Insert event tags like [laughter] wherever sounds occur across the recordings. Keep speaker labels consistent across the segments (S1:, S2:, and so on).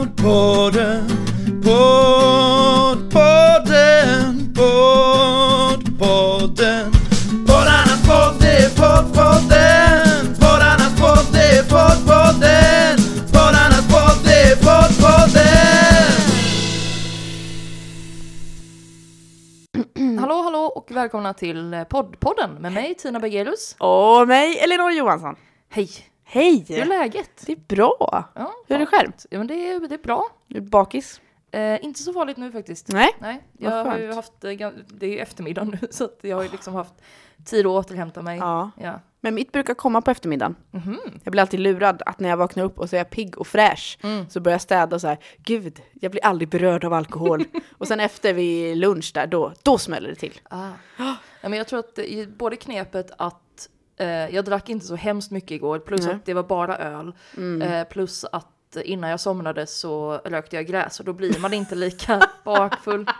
S1: podden, podd, podden, podd, podden. Poddarnas podd, det är podd, podden. Poddarnas podd, det är podd, podden. Poddarnas podd, det är podd, podden.
S2: Mm.
S3: Hallå, hallå och välkomna till eh, poddpodden med mig Tina Bergelius.
S2: Och mig, Elinor Johansson.
S3: Hej!
S2: Hej!
S3: Hur är läget?
S2: Det är bra.
S3: Ja,
S2: Hur är det
S3: ja.
S2: själv?
S3: Ja, men det, är, det är bra.
S2: Du är bakis?
S3: Eh, inte så farligt nu faktiskt.
S2: Nej.
S3: Nej, jag
S2: Vad
S3: har ju
S2: skönt.
S3: haft, eh, gan- det är ju eftermiddag nu [laughs] så att jag har ju liksom haft tid att återhämta mig.
S2: Ja.
S3: Ja.
S2: Men mitt brukar komma på eftermiddagen.
S3: Mhm.
S2: Jag blir alltid lurad att när jag vaknar upp och så är jag pigg och fräsch
S3: Mm.
S2: så börjar jag städa och så här, gud, jag blir aldrig berörd
S3: [laughs]
S2: av alkohol. och sen efter vid lunch där, då, då smäller det till.
S3: Ah. Ja, men jag tror att eh, i- både knepet att eh, jag drack inte så hemskt mycket igår, plus
S2: Nej. Mm.
S3: att det var bara öl, eh, plus att innan jag somnade så rökte jag gräs och då blir man inte
S2: [laughs]
S3: lika bakfull dagen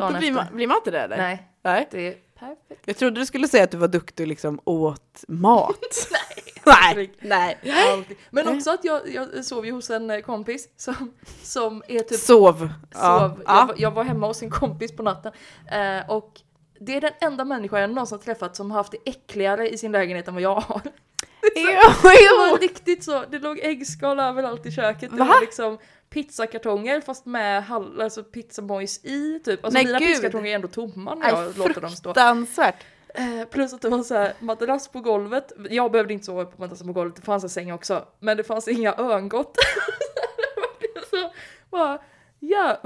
S2: Då blir
S3: efter.
S2: man, blir man inte det eller?
S3: Nej,
S2: Nej.
S3: det är perfekt.
S2: Jag trodde du skulle säga att du var duktig liksom åt
S3: [laughs]
S2: mat. [laughs] Nej. Nej. Nej.
S3: Alltid. Men också att jag, jag sov ju hos en eh, kompis som, som är typ
S2: Sov.
S3: sov. Jag,
S2: Ja.
S3: var- jag var hemma hos en kompis på natten. Eh, och det är den enda människa jag någonsin har träffat som har haft det äckligare i sin lägenhet än vad jag har.
S2: Ew,
S3: Det
S2: ew. [laughs]
S3: var riktigt så, det låg äggskal överallt i köket. Det
S2: Va?
S3: var liksom pizzakartonger fast med hall, alltså pizzamojs i typ. Alltså
S2: Nej,
S3: mina
S2: gud.
S3: pizzakartonger är ändå tomma när
S2: Nej,
S3: jag låter dem stå.
S2: Fruktansvärt.
S3: Eh, Plus att det var så här madrass på golvet. Jag behövde inte sova på madrassen på golvet, det fanns en säng också. Men det fanns inga örngott. [laughs] Det var så, bara, ja,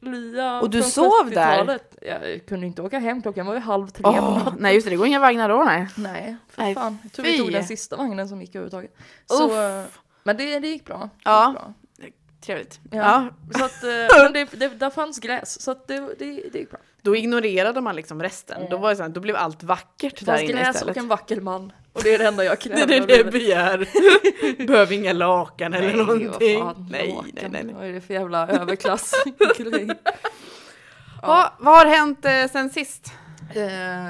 S3: ungkarlslya
S2: Och du
S3: från
S2: sov där?
S3: 70-talet. Jag kunde inte åka hem, klockan var ju halv tre på natten.
S2: Åh, nej just det, det går inga vagnar då nej.
S3: Nej, för
S2: Nej,
S3: fan. Jag tror vi
S2: fy.
S3: tog den sista vagnen som gick överhuvudtaget. Så, eh, men det, det gick bra. Det gick
S2: Ja.
S3: bra.
S2: Trevligt.
S3: Ja.
S2: Ja.
S3: Så att, eh, men det, det, där fanns gräs, så att det, det, det gick bra.
S2: Då ignorerade man liksom resten. Då, var det så här, då blev allt vackert
S3: Det
S2: där
S3: fanns
S2: inne
S3: gräs
S2: istället.
S3: och en vacker man. Och det är det enda jag
S2: [laughs] Det
S3: kräver
S2: är det
S3: av
S2: det
S3: livet.
S2: jag [laughs] begär. Behöver inga lakan eller
S3: vad
S2: någonting.
S3: fan,
S2: nej,
S3: lakan.
S2: nej, nej. nej.
S3: Vad är det för jävla överklass?
S2: [laughs] Ha, vad har hänt eh, sen sist?
S3: eh,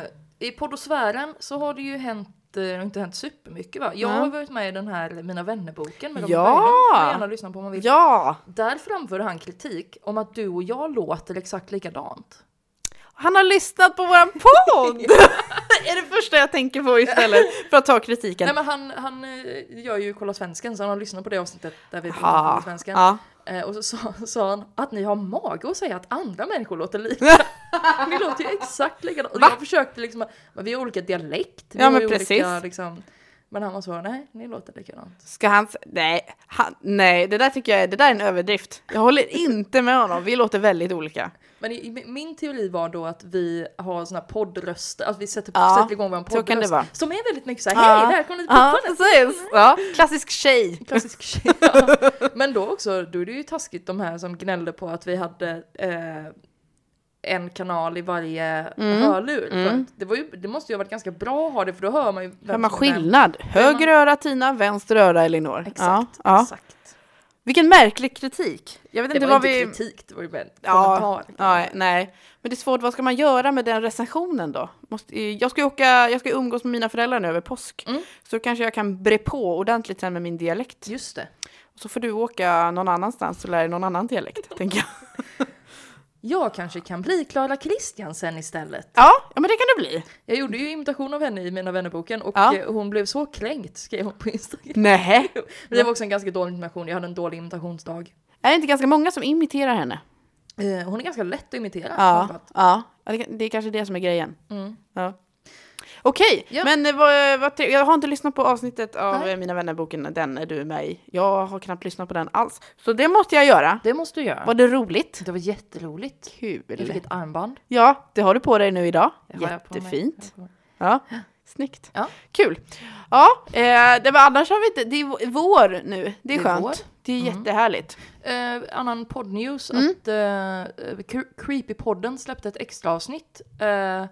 S3: I poddosfären så har det ju hänt, eh, det har inte hänt supermycket va? Jag
S2: Nej.
S3: har varit med i den här Mina vännerboken med Robert
S2: Ja!
S3: Berglund. Det får man gärna lyssna på om man vill.
S2: Ja,
S3: Där framförde han kritik om att du och jag låter exakt likadant.
S2: han har lyssnat på våran podd! [laughs] Det är det första jag tänker på istället för att ta kritiken.
S3: Nej men han, han eh, gör ju Kolla Svensken så han har lyssnat på det avsnittet där vi pratade om
S2: Ja,
S3: Kolla Svensken.
S2: ja.
S3: Eh, och så sa, [laughs] sa han att ni har mage att säga att andra människor låter
S2: [laughs]
S3: lika. ni låter ju exakt likadant. Och jag försökte liksom, men vi har olika dialekt. Vi
S2: Ja,
S3: har
S2: men
S3: ju Olika,
S2: precis.
S3: liksom, men han var så, nej ni låter likadant.
S2: Ska han... s- Nej, han, nej, det där tycker jag är, det där är en överdrift. Jag håller inte med honom, vi låter väldigt olika.
S3: Men i, i, min- min teori var då att vi har såna här poddröster, att vi sätter,
S2: Ja,
S3: sätter igång vår
S2: så kan det
S3: poddröst.
S2: vara.
S3: Som är väldigt mycket så här, hej, där kom lite
S2: ja,
S3: popcorn.
S2: precis. Ja, klassisk tjej. [laughs]
S3: Klassisk tjej. Ja. Men då också, då är det ju taskigt de här som gnällde på att vi hade eh, en kanal i varje
S2: Mm.
S3: hörlur. För att det, var ju, det måste ju ha varit ganska bra att ha det för då hör man ju vem
S2: Hör man
S3: som är vem.
S2: skillnad? Höger öra Tina, vänster öra Elinor.
S3: Exakt,
S2: Ja, ja.
S3: exakt.
S2: Vilken märklig kritik. Jag vet
S3: Det
S2: inte
S3: var
S2: vad
S3: inte
S2: vi...
S3: kritik, det var ju bara en
S2: Ja,
S3: kommentar.
S2: ja, nej. Men det är svårt, vad ska man göra med den recensionen då? Måste, eh, jag, ska ju åka, jag ska ju umgås med mina föräldrar nu över påsk.
S3: Mm.
S2: Så kanske jag kan bre på ordentligt sen med min dialekt.
S3: Just det.
S2: Så får du åka någon annanstans och lära dig någon annan dialekt, tänker jag.
S3: Jag kanske kan bli Klara Kristiansen istället.
S2: Ja, ja, men det kan det bli.
S3: Jag gjorde ju imitation av henne i Mina vännerboken och
S2: Ja.
S3: eh, hon blev så kränkt, skrev hon på Instagram.
S2: Nej.
S3: Men det var också en ganska dålig imitation, jag hade en dålig imitationsdag.
S2: Är det inte ganska många som imiterar henne?
S3: Eh, Hon är ganska lätt att imitera.
S2: Ja,
S3: framför allt.
S2: ja. Ja, det- det är kanske det som är grejen.
S3: Mm.
S2: Ja. Okej,
S3: Ja.
S2: men eh, vad, vad, tre- jag har inte lyssnat på avsnittet av
S3: Nej.
S2: eh, Mina vänner-boken, den är du är med i. Jag har knappt lyssnat på den alls. Så det måste jag göra.
S3: Det måste du göra.
S2: Var det roligt?
S3: Det var jätteroligt. Jag fick
S2: Kul.
S3: ett armband.
S2: Ja, det har du på dig nu idag.
S3: Det har jag på mig.
S2: Jättefint.
S3: [gasps]
S2: Ja, snyggt.
S3: Ja.
S2: Kul. Ja, eh, det var, annars har vi inte... Det är v- vår nu. Det är
S3: Det är vår. Mm.
S2: skönt. Det är jättehärligt.
S3: Eh, annan poddnews att eh, Cre- Creepypodden släppte ett extra avsnitt. Eh,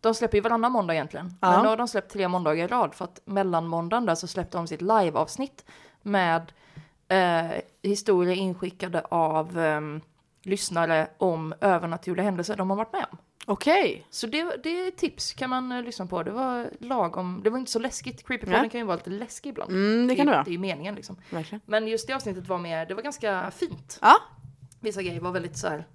S3: de släpper ju varannan måndag egentligen.
S2: Ja.
S3: Men nu har de släppt tre måndagar i rad för att mellanmåndagen där så släppte de sitt liveavsnitt med eh, historier inskickade av ehm, lyssnare om övernaturliga händelser de har varit med om.
S2: Okej.
S3: Så det, det är tips kan man eh, lyssna på. Det var lagom, det var inte så läskigt. Creepypodden
S2: Nej.
S3: kan ju vara lite läskig ibland.
S2: Mm, det kan det vara.
S3: Det är ju meningen liksom.
S2: Verkligen.
S3: Men just det avsnittet var mer, det var ganska fint.
S2: Ja.
S3: Vissa grejer var väldigt så här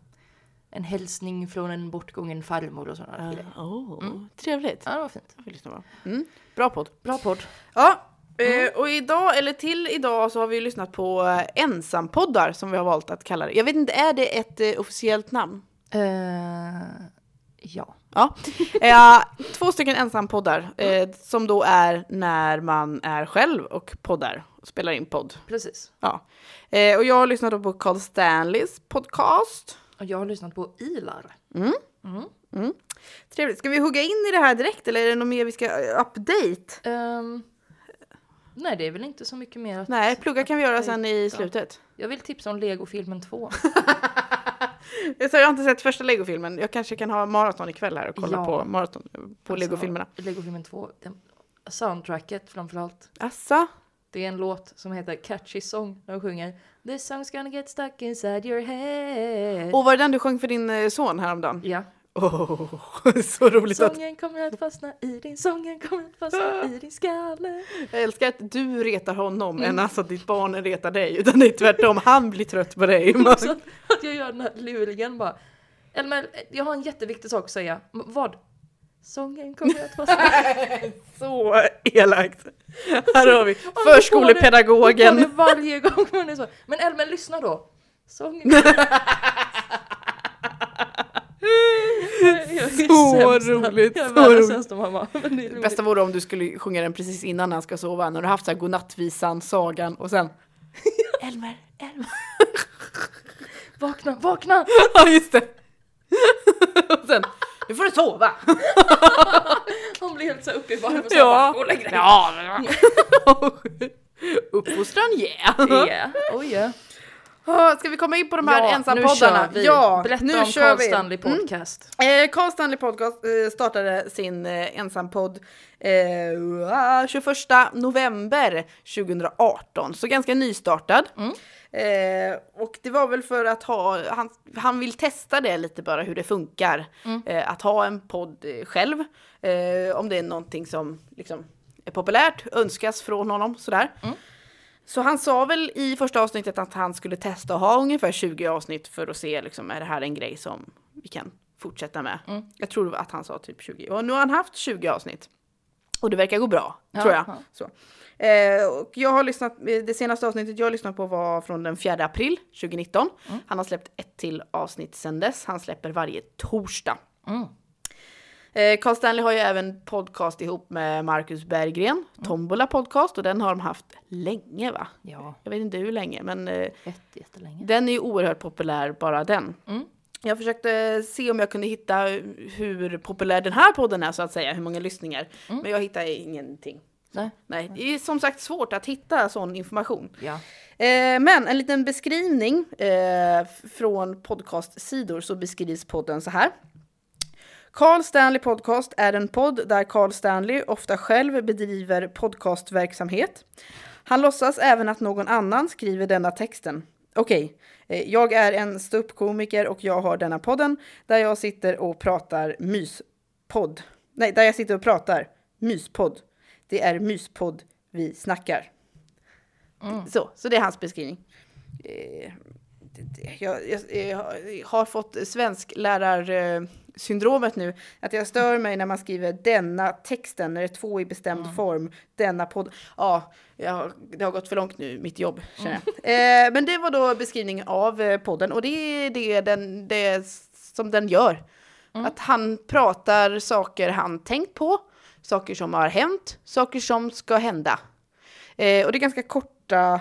S3: en hälsning från en bortgången farmor och sådana grejer.
S2: Oh, Trevligt.
S3: Ja, det var fint.
S2: Jag vill lyssna på. Mm. Bra podd.
S3: Bra podd. Mm.
S2: Ja, eh, och idag, eller till idag, så har vi ju lyssnat på eh, ensampoddar som vi har valt att kalla det. Jag vet inte, är det ett eh, officiellt namn?
S3: Eh, ja. [laughs]
S2: Ja. Eh, två stycken ensampoddar eh, som då är när man är själv och poddar och spelar in podd.
S3: Precis.
S2: Ja. Eh, och jag har lyssnat då på Carl Stanleys podcast.
S3: Och jag har lyssnat på Ilar.
S2: Mm. Trevligt. Ska vi hugga in i det här direkt eller är det något mer vi ska eh, update?
S3: Ehm, nej, det är väl inte så mycket mer att...
S2: Nej, plugga kan vi göra sen i slutet.
S3: Jag vill tipsa om Lego-filmen
S2: [laughs]
S3: 2.
S2: Jag sa, jag har inte sett första Lego-filmen. Jag kanske kan ha maraton ikväll här och kolla
S3: Ja.
S2: på maraton på Lego-filmerna.
S3: Alltså, Lego-filmen 2. Den, soundtracket framförallt.
S2: Asså?
S3: Det är en låt som heter Catchy Song. De sjunger This song's gonna get stuck inside your head.
S2: Och var det den du sjöng för din eh, son häromdagen?
S3: Ja.
S2: Oh, så roligt att... Ah.
S3: Sången kommer att fastna i din, sången kommer att fastna i din
S2: [laughs]
S3: skalle.
S2: Jag älskar att du retar honom än alltså att ditt barn retar dig. Utan det är tvärtom, han blir trött på dig. Man-
S3: Så att, att jag gör den här luringen bara. Eller men, jag har en jätteviktig sak att säga. M- Vad? Sången kommer att fastna.
S2: [laughs] [laughs] Så elakt. Här har vi
S3: Ja, men Hon får
S2: förskolepedagogen.
S3: det varje gång hon är så. Men Elmen, lyssna då. Sången kommer
S2: [laughs] Så roligt,
S3: Jag är
S2: så
S3: världens
S2: roligt.
S3: sämsta mamma. Men det är
S2: Det
S3: roligt.
S2: bästa vore om du skulle sjunga den precis innan han ska sova. När du haft så här godnattvisan, sagan och sen... Elmer, Elmer.
S3: [laughs] Vakna, vakna!
S2: Ja, just det. [laughs] Och sen, nu får du sova.
S3: Hon blir helt så här uppe i varv och så bara, gå och
S2: Ja.
S3: lägg dig.
S2: ja. Uppfostran, yeah.
S3: Yeah. Oh yeah.
S2: Ah, Ska vi komma in på de här ensampoddarna?
S3: Nu Mm. kör vi. Berätta om Carl Stanley Podcast.
S2: Eh, Carl Stanley Podcast eh, startade sin eh, ensampodd eh, ah, 21 november 2018, så ganska nystartad. Eh, och det var väl för att ha, han, han vill testa det lite bara hur det funkar. Eh, att ha en podd eh, själv, eh, om det är någonting som liksom, är populärt, önskas från honom sådär. Så han sa väl i första avsnittet att han skulle testa att ha ungefär 20 avsnitt för att se liksom, är det här en grej som vi kan fortsätta med.
S3: Mm.
S2: Jag tror att han sa typ 20. Och nu har han haft 20 avsnitt. Och det verkar gå bra,
S3: Ja,
S2: tror jag.
S3: ja.
S2: Så. Eh, och jag har lyssnat, eh, det senaste avsnittet jag har lyssnat på var från den 4 april 2019.
S3: Mm.
S2: Han har släppt ett till avsnitt sedan dess. Han släpper varje torsdag.
S3: Mm.
S2: Eh, Carl Stanley har ju även podcast ihop med Marcus Berggren,
S3: Mm.
S2: Tombola podcast, och den har de haft länge va?
S3: Ja,
S2: Jag vet inte hur länge, men eh,
S3: jätte, jättelänge.
S2: den är ju oerhört populär, bara den.
S3: Mm.
S2: Jag försökte se om jag kunde hitta hur populär den här podden är, så att säga, hur många lyssningar. Men jag hittade ingenting.
S3: Nej.
S2: Nej, det är som sagt svårt att hitta sån information.
S3: Ja.
S2: Eh, men en liten beskrivning eh, f- från podcastsidor så beskrivs podden så här. Carl Stanley Podcast är en podd där Carl Stanley ofta själv bedriver podcastverksamhet. Han låtsas även att någon annan skriver denna texten. Okej, eh, jag är en ståuppkomiker och jag har denna podden där jag sitter och pratar myspodd. Nej, där jag sitter och pratar myspodd. Det är myspodd vi snackar. Så, så det är hans beskrivning. Eh, det- det- Jag, jag, jag har fått svensklärarsyndromet nu. Att jag stör mig när man skriver denna texten, när det är två i bestämd form, denna podd. Ja, jag, det har gått för långt nu, mitt jobb, känner jag. Eh, men det var då beskrivningen av eh, podden och det är det, den, det som den gör. Att han pratar saker han tänkt på, saker som har hänt, saker som ska hända. Eh, och det är ganska korta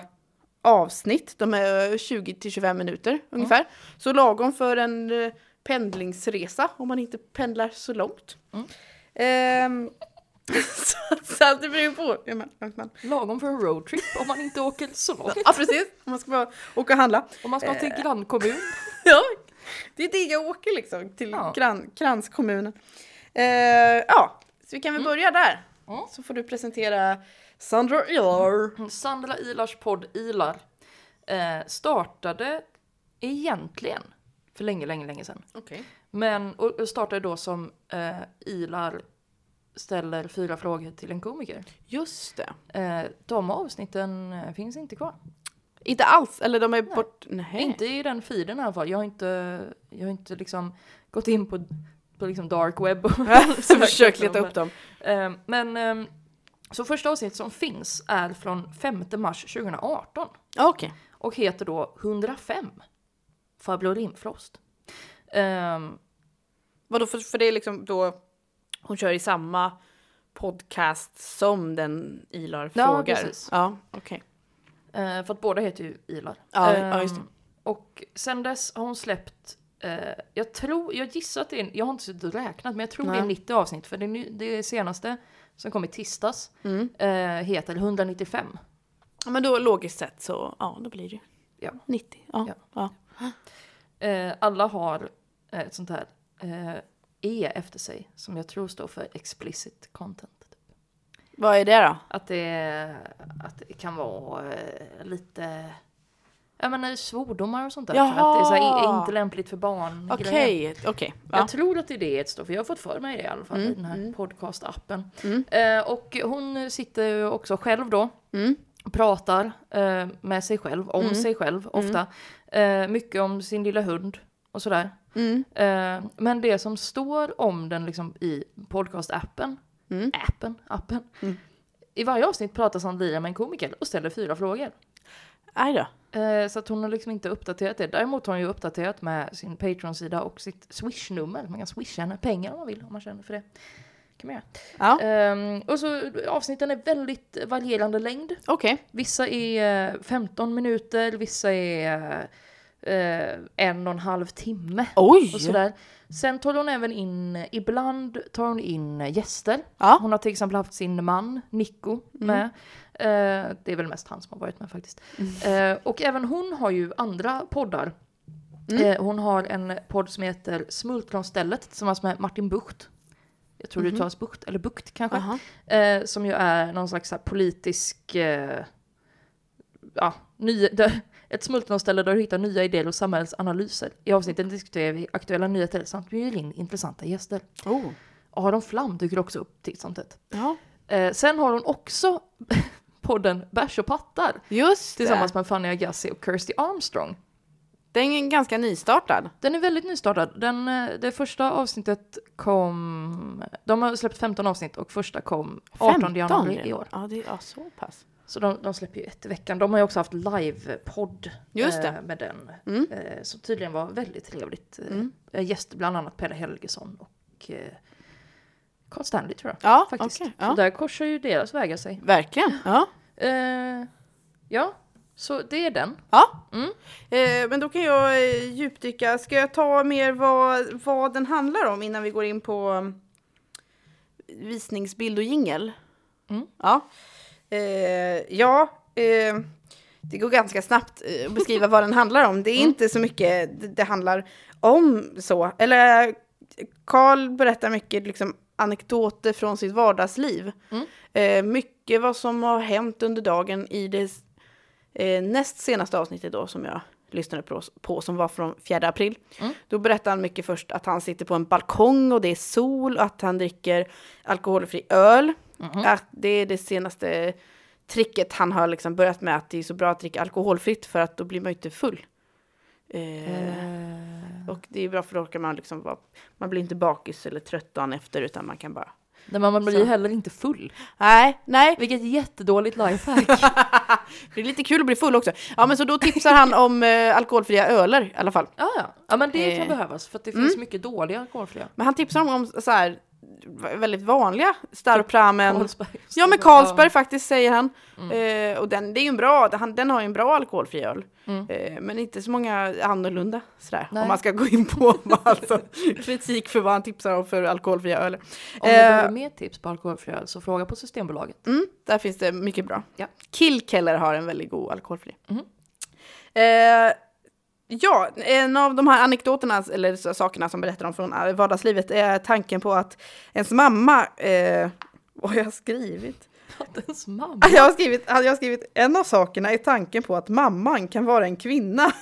S2: avsnitt, de är eh, 20-25 minuter ungefär. Så lagom för en eh, pendlingsresa, om man inte pendlar så långt. Ehm, [laughs] så, så allt det beror ju på hur man- hur man...
S3: Lagom för en roadtrip om man inte åker så långt. Eh.
S2: Ja precis, om man ska bara åka och handla. [laughs]
S3: Om man ska till grannkommun.
S2: Ja, det är det jag åker liksom, till
S3: Ja.
S2: grann, kranskommunen. Eh, ja, så vi kan väl börja där.
S3: Mm.
S2: Så får du presentera Sandra Ilar.
S3: Sandra Mm. Ilars podd Ilar eh, startade egentligen för länge, länge, länge sedan.
S2: Okej.
S3: Men, och och startade då som eh, Ilar ställer fyra frågor till en komiker.
S2: Just det.
S3: Eh, de avsnitten eh, finns inte kvar.
S2: Inte alls, eller de är bort... Nej.
S3: Inte i den feeden i alla fall. Jag har inte, jag har inte liksom gått in på, på liksom dark web. [laughs] och
S2: [laughs] Så
S3: sökt
S2: försök
S3: efter
S2: leta
S3: dem. [laughs]
S2: upp dem.
S3: Eh, men ehm, så första avsnittet som finns är från 5 mars 2018
S2: Okej.
S3: och heter då 105 Farbror Rimfrost. Ehm,
S2: Vadå, för, för det är liksom då hon kör i samma podcast som den Ilar
S3: Ja,
S2: frågar?
S3: precis.
S2: Ja, okej.
S3: Eh, för att båda heter ju Ilar.
S2: Ja,
S3: Ehm,
S2: ja, just det.
S3: Och sen dess har hon släppt, eh, jag tror, jag gissar att det är, jag har inte suttit och räknat, men jag tror det är
S2: Nej.
S3: 90 avsnitt. För det, ny- det senaste som kom i tisdags
S2: Mm.
S3: eh, heter 195.
S2: Ja, men då logiskt sett så, ja, då blir det ju
S3: Ja.
S2: 90. Ja,
S3: Ja.
S2: ja.
S3: Eh, alla har eh, ett sånt här eh, E efter sig som jag tror står för explicit content.
S2: Vad är det då?
S3: Att det, att det kan vara eh, lite jag menar, svordomar och sånt där. För att det är så här,
S2: Jaha!
S3: i- inte lämpligt för barn. grejer.
S2: Okej, okej.
S3: Jag
S2: Ja.
S3: tror att det är det ett står för. Jag har fått för mig det i alla fall i den här podcastappen. Eh, och hon sitter ju också själv då.
S2: Mm.
S3: och Pratar eh, med sig själv, om sig själv ofta. Eh, mycket om sin lilla hund och sådär.
S2: Mm.
S3: Eh, men det som står om den liksom i podcastappen, appen, appen. I varje avsnitt pratar Sandra med en komiker och ställer fyra frågor.
S2: Aj då.
S3: Eh, Så att hon har liksom inte uppdaterat det. Däremot har hon ju uppdaterat med sin Patreon-sida och sitt swish-nummer. Man kan swisha henne pengar om man vill, om man känner för det. kan man göra.
S2: Ja,
S3: Ehm, och så avsnitten är väldigt varierande längd.
S2: okej.
S3: Vissa är eh, 15 minuter, vissa är eh, en och en halv timme.
S2: Oj!
S3: Och sådär. Sen tar hon även in, ibland tar hon in gäster.
S2: Ja. Mm.
S3: Hon har till exempel haft sin man, Nico, med. Eh, det är väl mest han som har varit med faktiskt.
S2: Mm.
S3: Eh, och även hon har ju andra poddar.
S2: Mm.
S3: Eh, hon har en podd som heter Smultronstället tillsammans med Martin Bucht. Jag tror det uttalas Bucht, eller Bukt kanske.
S2: Mhm. Aha.
S3: Eh, som ju är någon slags så här politisk... Eh, ja, ny, där, ett smultronställe där du hittar nya idéer och samhällsanalyser. I avsnitten diskuterar vi aktuella nyheter samt bjuder in intressanta gäster.
S2: Oh.
S3: Aron Flam dyker också upp titt som tätt.
S2: Ja,
S3: Eh, sen har hon också [laughs] podden Bärs och pattar
S2: just
S3: tillsammans
S2: det.
S3: med Fanny Agassi och Kirsty Armstrong.
S2: Den är ganska nystartad.
S3: Den är väldigt nystartad. Den, eh, det första avsnittet kom... De har släppt 15 avsnitt och första kom 18 januari i år.
S2: Ja, det är ja, så pass.
S3: Så de, de släpper ju ett i veckan. De har ju också haft livepodd
S2: Just
S3: eh,
S2: det.
S3: med den.
S2: Mm.
S3: Eh, som tydligen var väldigt trevligt. Eh, gäster bland annat Pelle Helgesson och eh, Carl Stanley tror jag.
S2: Ja,
S3: faktiskt.
S2: okej,
S3: Så
S2: ja.
S3: där korsar ju deras vägar sig.
S2: Verkligen. Ja.
S3: Eh, ja, så det är den.
S2: Ja.
S3: Mm.
S2: Eh, men då kan jag eh, djupdyka. Ska jag ta mer vad, vad den handlar om innan vi går in på mm, visningsbild och jingel?
S3: Mm.
S2: Ja. Eh, ja. Eh, det går ganska snabbt eh, att beskriva vad den handlar om. Det
S3: Mm.
S2: är inte så mycket det, det handlar om så. Eller Karl berättar mycket liksom, anekdoter från sitt vardagsliv.
S3: Mm.
S2: Eh, mycket vad som har hänt under dagen i det eh, näst senaste avsnittet då som jag lyssnade på, på som var från 4 april. Då berättar han mycket först att han sitter på en balkong och det är sol och att han dricker alkoholfri öl. Att det är det senaste tricket han har liksom börjat med att det är så bra att dricka alkoholfritt för att då blir man ju inte full. Eh, Och det är bra för då kan man liksom vara, man blir inte bakis eller trött dagen efter utan man kan bara
S3: Nej, men man blir
S2: Så.
S3: heller inte full.
S2: Nej, nej,
S3: Vilket jättedåligt
S2: [laughs]
S3: lifehack.
S2: det är lite kul att bli full också. Ja, men så då tipsar han om eh, alkoholfria öler i alla fall.
S3: ja, ja. ja, men det kan
S2: Eh.
S3: behövas för att det finns mycket dåliga alkoholfria.
S2: Men han tipsar om, om så här, v- väldigt vanliga Staropramen.
S3: Carlsberg. Mm.
S2: Ja men Carlsberg faktiskt säger han. Eh, och den, det är ju en bra, han, den har ju en bra alkoholfri öl. Eh, men inte så många annorlunda sådär.
S3: Nej.
S2: Om man ska gå in på vad,
S3: [laughs]
S2: alltså, kritik för vad han tipsar om för alkoholfria öl. Eh,
S3: Om ni behöver mer tips på alkoholfri öl så fråga på
S2: [laughs]
S3: Systembolaget.
S2: Mm, där finns det mycket bra.
S3: Ja.
S2: Killkeller har en väldigt god alkoholfri. Eh, ja, en av de här anekdoterna, eller så- sakerna som berättar om från eh, vardagslivet, är tanken på att ens mamma... Eh, [laughs] vad har jag skrivit?
S3: Att ens mamma
S2: Ah, Jag har skrivit, ah, jag har skrivit en av sakerna är tanken på att mamman kan vara en kvinna.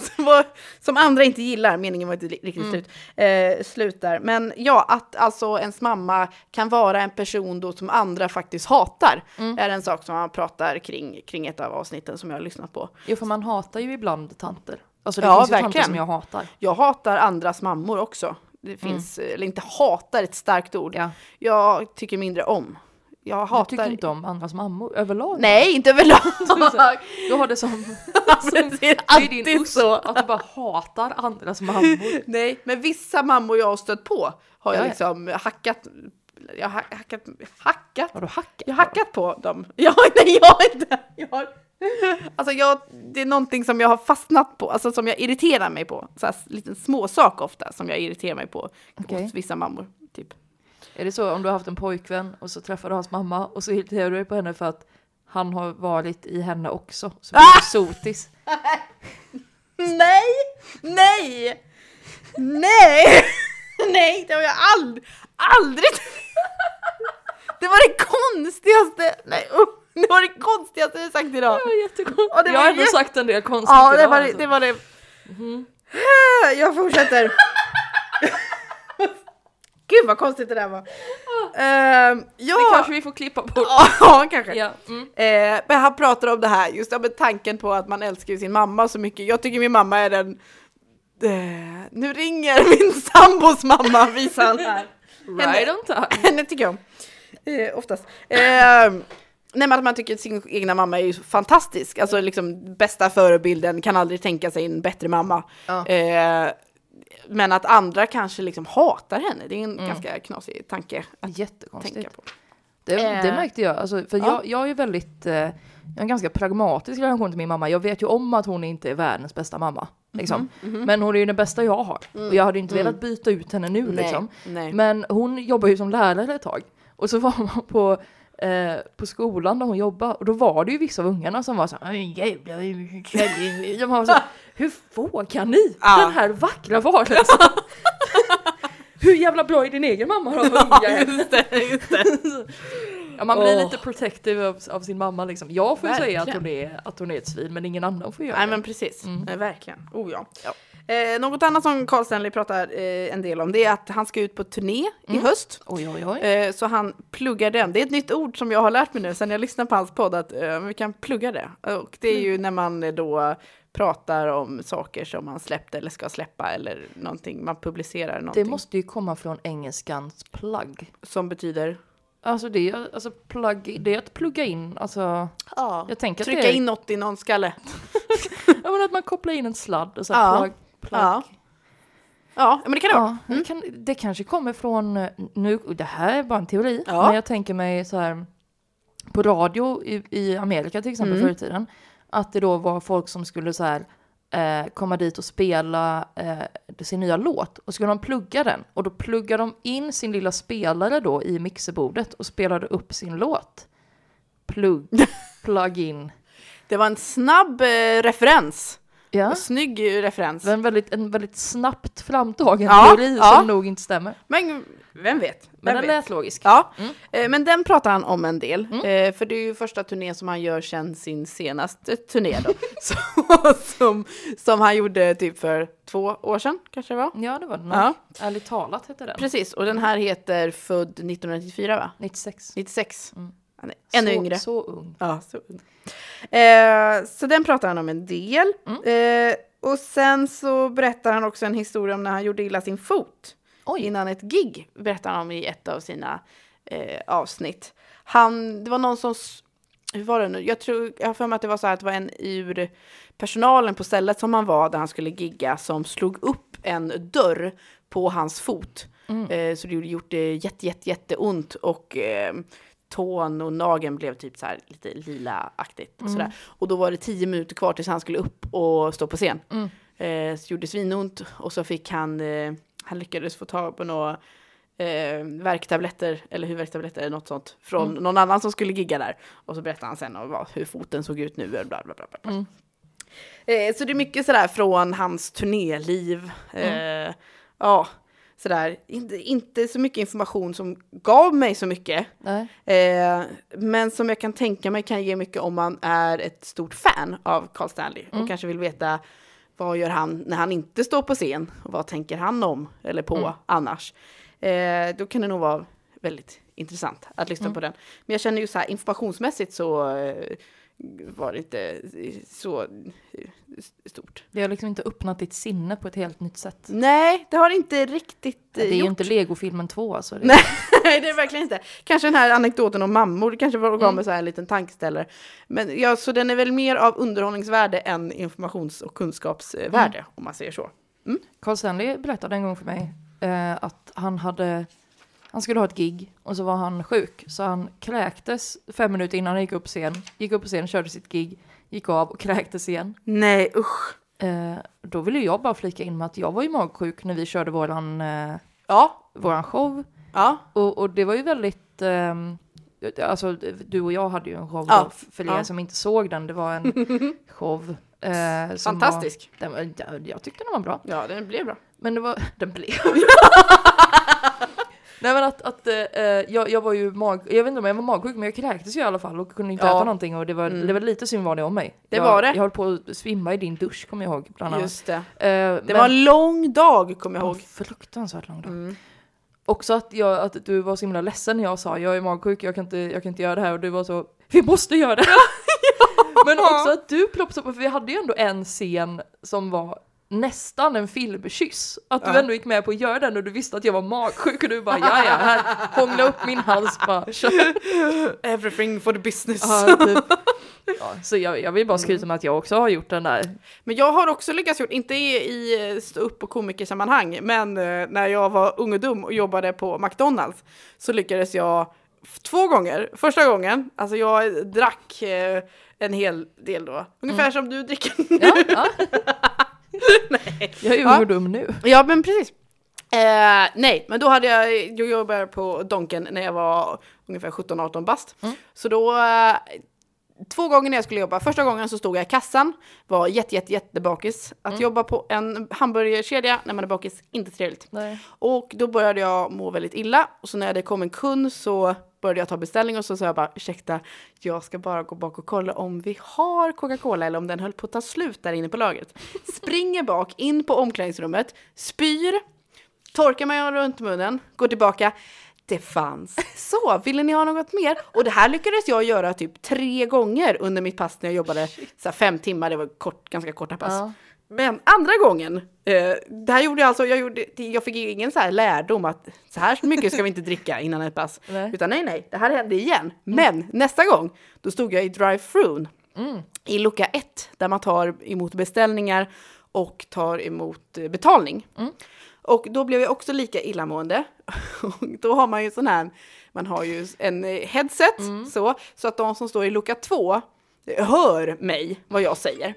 S2: som, var, som andra inte gillar, meningen var inte li-
S3: Mm.
S2: riktigt slut, eh, slut där. Men ja, att alltså ens mamma kan vara en person då som andra faktiskt hatar,
S3: Mm.
S2: är en sak som man pratar kring, kring ett av avsnitten som jag har lyssnat på.
S3: Jo, för man hatar ju ibland tanter. Alltså det
S2: Ja,
S3: finns ju tanter
S2: verkligen.
S3: som jag hatar.
S2: Jag hatar andras mammor också. Det finns, eller inte hatar ett starkt ord,
S3: Mm. Ja.
S2: jag tycker mindre om. Jag
S3: Jag
S2: hatar...
S3: tycker inte om andras mammor [laughs] överlag.
S2: Nej, inte överlag!
S3: Du har det
S2: [laughs]
S3: som...
S2: Alltså, det är
S3: [laughs] Det är din
S2: alltid
S3: ost,
S2: så.
S3: att du bara hatar andras mammor.
S2: Nej, men vissa mammor jag har stött på har jag
S3: Ja, ja.
S2: liksom hackat... Jag har hackat... Hackat?
S3: Har du hackat?
S2: Jag har hackat på dem. [laughs] Jag, nej, jag har inte... Jag har, alltså jag, det är någonting som jag har fastnat på, alltså som jag irriterar mig på. Så här, liten småsak ofta som jag irriterar mig på
S3: Okej.
S2: hos vissa mammor. Typ.
S3: Är det så om du har haft en pojkvän och så träffar du hans mamma och så irriterar du dig på henne för att han har varit i henne också? Så blir du sotis.
S2: Nej! Nej! Nej! [laughs] Nej, det har jag aldrig, aldrig... [laughs] Det var det konstigaste, nej usch, det var det konstigaste jag sagt idag.
S3: [laughs] Det var jättekonstigt.
S2: Ja, det
S3: jag
S2: var
S3: har ändå
S2: jätte-
S3: sagt en del konstigt
S2: Ja, det
S3: idag,
S2: var Mm. det.
S3: alltså.
S2: det, var det. [laughs] Jag [laughs] fortsätter. Gud vad konstigt det där var. Ehm, ja,
S3: Det kanske vi får klippa bort.
S2: ja, kanske.
S3: Ja, mm.
S2: Eh, men han pratar om det här, just ja, men tanken på att man älskar ju sin mamma så mycket. Jag tycker min mamma är den... Eh, nu ringer [laughs] min sambos mamma, visar han här.
S3: Right on time.
S2: [laughs] Henne tycker jag om. Eh, oftast. Eh, nej men att man tycker att sin egna mamma är ju så fantastisk. Alltså liksom bästa förebilden, kan aldrig tänka sig en bättre mamma.
S3: Ja.
S2: Eh, men att andra kanske liksom hatar henne, det är en ganska knasig tanke att tänka
S3: Jättekonstigt.
S2: på.
S3: Det,
S2: Eh.
S3: det märkte jag. Alltså, för
S2: Ja.
S3: jag, jag är ju väldigt, eh, jag har en ganska pragmatisk relation till min mamma. Jag vet ju om att hon inte är världens bästa mamma. Liksom. Men hon är ju den bästa jag har. Och jag hade ju inte velat byta ut henne nu.
S2: Nej,
S3: Liksom.
S2: [laughs] nej.
S3: Men hon jobbar ju som lärare ett tag. Och så var man på, eh, på skolan där hon jobbade. Och då var det ju vissa av ungarna som var så här. "Aj, jävlar, vilken kärring." Jag [laughs] bara så här, Hur vågar ni?
S2: Ja.
S3: Den här vackra varelsen. [laughs] Hur jävla bra är din egen mamma [laughs] då? unga?" Ja, man blir
S2: Åh.
S3: lite protective av, av sin mamma liksom. Jag får ju säga att hon, är, att hon är ett svin men ingen annan får göra
S2: Nej
S3: det.
S2: men precis,
S3: Mm.
S2: Nej, verkligen. Oh, ja. Eh, något annat som Carl Stanley pratar eh, en del om det är att han ska ut på turné i höst.
S3: Mm. Oj oj oj.
S2: Eh, så han pluggar den. Det är ett nytt ord som jag har lärt mig nu sen jag lyssnade på hans podd att eh, vi kan plugga det. Och det är
S3: Mm.
S2: ju när man eh, då pratar om saker som man släppt eller ska släppa eller någonting. Man publicerar
S3: Det
S2: någonting
S3: måste ju komma från engelskans plug.
S2: som betyder
S3: Alltså det är, alltså plug, det är att plugga in, alltså
S2: ja,
S3: jag tänker att
S2: trycka
S3: det är,
S2: in något i någon skalle.
S3: ja, men att man kopplar in en sladd och så
S2: Ja.
S3: här plug, plug.
S2: Ja. Ja, men det kan det vara.
S3: Ja, Mm. det, kan, det kanske kommer från, eh, nu, det här är bara en teori,
S2: Ja.
S3: men jag tänker mig så här på radio i, i Amerika till exempel
S2: Mm.
S3: förr i tiden, att det då var folk som skulle så här eh, komma dit och spela eh, sin nya låt och skulle de plugga den och då pluggar de in sin lilla spelare då i mixerbordet och spelade upp sin låt.
S2: [laughs]
S3: Plugg, plug in.
S2: Det var en snabb eh, referens.
S3: Ja.
S2: Snygg eh, referens.
S3: En väldigt, en väldigt snabbt framtagen
S2: Ja,
S3: teori
S2: ja.
S3: som nog inte stämmer.
S2: Men vem vet? Vem
S3: Men den
S2: vet?
S3: lät logisk.
S2: Ja, Eh, men den pratar han om en del. Eh, För det är ju första turnén som han gör sedan sin senaste turné då. som, som, som han gjorde typ för två år sedan kanske det var.
S3: Ja, det var den.
S2: Ja.
S3: Ärligt talat hette den.
S2: Precis, och den här heter Född 1994 va?
S3: 96.
S2: 96. Han är ännu
S3: så,
S2: yngre.
S3: Så ung.
S2: Ja, så ung. Eh, så den pratar han om en del. Eh, och sen så berättar han också en historia om när han gjorde illa sin fot.
S3: Oj.
S2: Innan ett gig berättar han om i ett av sina eh, avsnitt. Han, det var någon som, s- hur var det nu? Jag tror, jag har för mig att det var så här att det var en ur personalen på stället som han var där han skulle gigga som slog upp en dörr på hans fot. Eh, så det gjorde, gjort det jätte, jätte, jätteont och eh, tån och nageln blev typ så här lite lila-aktigt. och Sådär. Och då var det tio minuter kvar tills han skulle upp och stå på scen. Eh, så gjorde svinont och så fick han, eh, han lyckades få tag på några eh, verktabletter eller huvudvärktabletter eller något sånt från någon annan som skulle gigga där. Och så berättade han sen om vad, hur foten såg ut nu. och Bla, bla, bla, bla. bla. Eh, så det är mycket sådär från hans turnéliv. Eh, ja, sådär. Inte, inte så mycket information som gav mig så mycket.
S3: Nej.
S2: Eh, men som jag kan
S3: Mm.
S2: tänka mig kan ge mycket om man är ett stort fan av Carl Stanley och kanske vill veta Vad gör han när han inte står på scen? Och vad tänker han om eller på
S3: Mm.
S2: annars? Eh, då kan det nog vara väldigt intressant att
S3: Mm.
S2: lyssna på den. Men jag känner ju så här informationsmässigt så eh, var det inte eh, så eh, stort.
S3: Det har liksom inte öppnat ditt sinne på ett helt nytt sätt.
S2: Nej, det har inte riktigt
S3: Det är
S2: gjort.
S3: ju inte Lego-filmen 2 alltså. Det,
S2: [laughs] Nej, det är det verkligen inte. Kanske den här anekdoten om mammor kanske var gav mig så här en liten tankeställare. Men ja, så den är väl mer av underhållningsvärde än informations och kunskapsvärde, om man säger så.
S3: Carl Stanley berättade en gång för mig eh, att han hade han skulle ha ett gig och så var han sjuk så han kräktes fem minuter innan han gick upp på scen. Gick upp på scen, körde sitt gig, gick av och kräktes igen.
S2: Nej, usch.
S3: Eh, då ville jag bara flika in med att jag var ju magsjuk när vi körde våran, eh,
S2: Ja,
S3: våran show.
S2: ja,
S3: Och, och det var ju väldigt... ehm, alltså, du och jag hade ju en show
S2: Ja,
S3: då, för er
S2: ja.
S3: som inte såg den. Det var
S2: [laughs]
S3: en show. Eh, som
S2: fantastisk.
S3: Var, den, var- jag, jag tyckte den var bra.
S2: Ja, den blev bra.
S3: Men det var... [laughs] Den blev...
S2: [laughs]
S3: Nej men att, att eh, eh, jag, jag var ju mag... Jag vet inte om jag var magsjuk men jag kräktes ju i alla fall och kunde inte
S2: Ja. Mm.
S3: äta någonting och det var, det var lite synd var det om mig.
S2: Det
S3: jag,
S2: var det.
S3: Jag höll på att svimma i din dusch kommer jag ihåg bland annat.
S2: Just det.
S3: Eh,
S2: Det var en lång dag, kommer jag
S3: Ja,
S2: ihåg.
S3: Fruktansvärt lång dag. Mm. Också att, jag, att du var så himla ledsen när jag sa jag är magsjuk, jag kan inte, jag kan inte göra det här och du var så vi måste göra det! [laughs] Men också att du ploppade upp, för vi hade ju ändå en scen som var nästan en filmkyss. Att du
S2: Ja.
S3: ändå gick med på att göra den och du visste att jag var magsjuk och du bara ja ja, här hångla upp min hals bara kör.
S2: Everything for the business.
S3: Ja, typ. ja, så jag, jag vill bara skryta med att jag också har gjort den där.
S2: Men jag har också lyckats gjort, inte i, i eh, stå upp och komikersammanhang, men eh, när jag var ung och dum och jobbade på McDonalds så lyckades jag f- två gånger. Första gången, alltså jag drack eh, en hel del då, ungefär som du dricker nu.
S3: Ja, ja. [laughs] Jag är ju
S2: Ja.
S3: ung och dum nu.
S2: Ja, men precis. Eh, nej, men då hade jag, jag jobbade på Donken när jag var ungefär 17-18 bast. Så då, eh, två gånger när jag skulle jobba, första gången så stod jag i kassan, var jätte, jätte, jätte bakis. Att jobba på en hamburgerkedja när man är bakis, inte trevligt.
S3: Nej.
S2: Och då började jag må väldigt illa. Och så när det kom en kund så började jag ta beställning och så sa jag bara ursäkta, jag ska bara gå bak och kolla om vi har Coca-Cola eller om den höll på att ta slut där inne på lagret. Springer bak in på omklädningsrummet, spyr, torkar mig runt munnen, går tillbaka. Det fanns. Så, ville ni ha något mer? Och det här lyckades jag göra typ tre gånger under mitt pass när jag jobbade så här, fem timmar, det var kort, ganska korta pass.
S3: Ja.
S2: Men andra gången, eh, det här gjorde jag alltså, jag, gjorde, jag fick ju ingen så här lärdom att så här mycket ska vi inte dricka innan ett pass.
S3: [laughs] Nej.
S2: Utan nej, nej, det här hände igen. Men nästa gång, då stod jag i drive-thrun
S3: Mm.
S2: i lucka ett där man tar emot beställningar och tar emot eh, betalning.
S3: Mm.
S2: Och då blev jag också lika illamående. Och då har man ju sån här, man har ju en eh, headset så, så att de som står i lucka två eh, hör mig, vad jag säger.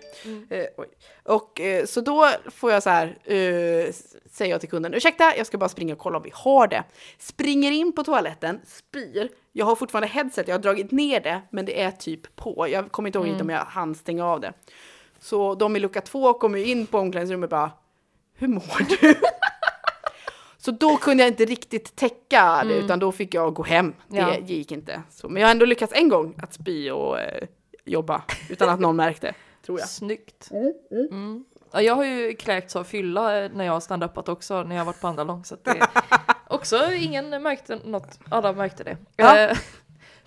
S2: Eh, oj. och eh, så då får jag så här, eh, s- säger jag till kunden, ursäkta, jag ska bara springa och kolla om vi har det. Springer in på toaletten, spyr. Jag har fortfarande headset, jag har dragit ner det, men det är typ på. Jag kommer inte ihåg riktigt om jag hann stänga av det. Så de i lucka två kommer ju in på omklädningsrummet och bara, hur mår [laughs] du? Så då kunde jag inte riktigt täcka det, utan då fick jag gå hem. Det
S3: Ja.
S2: gick inte. Så, men jag har ändå lyckats en gång att spy och eh, jobba utan att någon märkte, tror jag.
S3: Snyggt. Mm. Ja, jag har ju kräkts av fylla eh, när jag har stand-upat också, när jag har varit på andra lång. Så att det också ingen märkte något, alla märkte det.
S2: Ja.
S3: Eh,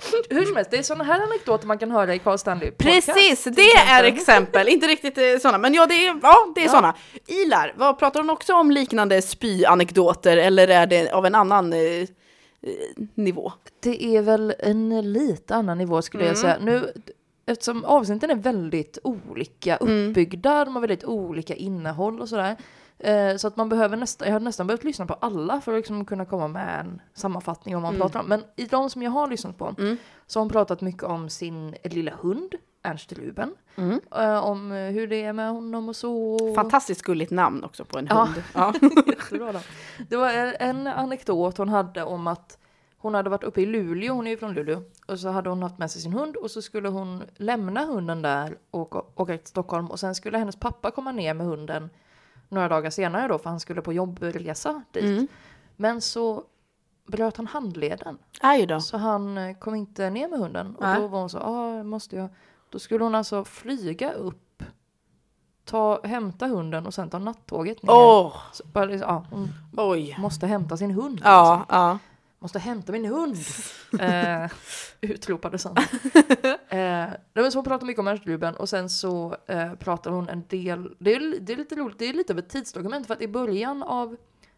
S3: [laughs] Hur som helst, det är sådana här anekdoter man kan höra i Carl Stanley podcast.
S2: [laughs] Precis, det är exempel. Inte riktigt eh, sådana, men ja, det är, ja, det är
S3: Ja.
S2: sådana. Ilar, vad pratar hon också om liknande spyanekdoter eller är det av en annan eh, eh, nivå?
S3: Det är väl en lite annan nivå skulle jag säga. Nu, eftersom avsnitten är väldigt olika uppbyggda, de har väldigt olika innehåll och sådär. Eh, så att man behöver nästan, jag har nästan behövt lyssna på alla för att liksom kunna komma med en sammanfattning om vad man pratar om. Men i de som jag har lyssnat på så har hon pratat mycket om sin lilla hund, Ernst Ruben. Eh, om eh, hur det är med honom och så.
S2: Fantastiskt gulligt namn också på en
S3: Ja.
S2: [laughs] hund. Ja.
S3: Jättebra då. Det var en- en anekdot hon hade om att hon hade varit uppe i Luleå, hon är ju från Luleå, och så hade hon haft med sig sin hund och så skulle hon lämna hunden där och åka- åka till Stockholm och sen skulle hennes pappa komma ner med hunden några dagar senare då för han skulle på jobbresa dit.
S2: Mm.
S3: Men så bröt han handleden
S2: Aj då.
S3: så han eh, kom inte ner med hunden och
S2: Nej.
S3: då var hon så, ah, måste jag. Då skulle hon alltså flyga upp ta, hämta hunden och sen ta nattåget ner.
S2: Åh,
S3: Så, bara liksom, ja, hon
S2: oj.
S3: måste hämta sin hund.
S2: Ja, ja.
S3: Måste hämta min
S2: [laughs]
S3: hund! eh, utropade Sandra. Eh, nej, men så hon pratar mycket om människoklubben och sen så eh, pratar hon en del, det är, det är lite roligt, det är lite av ett tidsdokument för att i början av,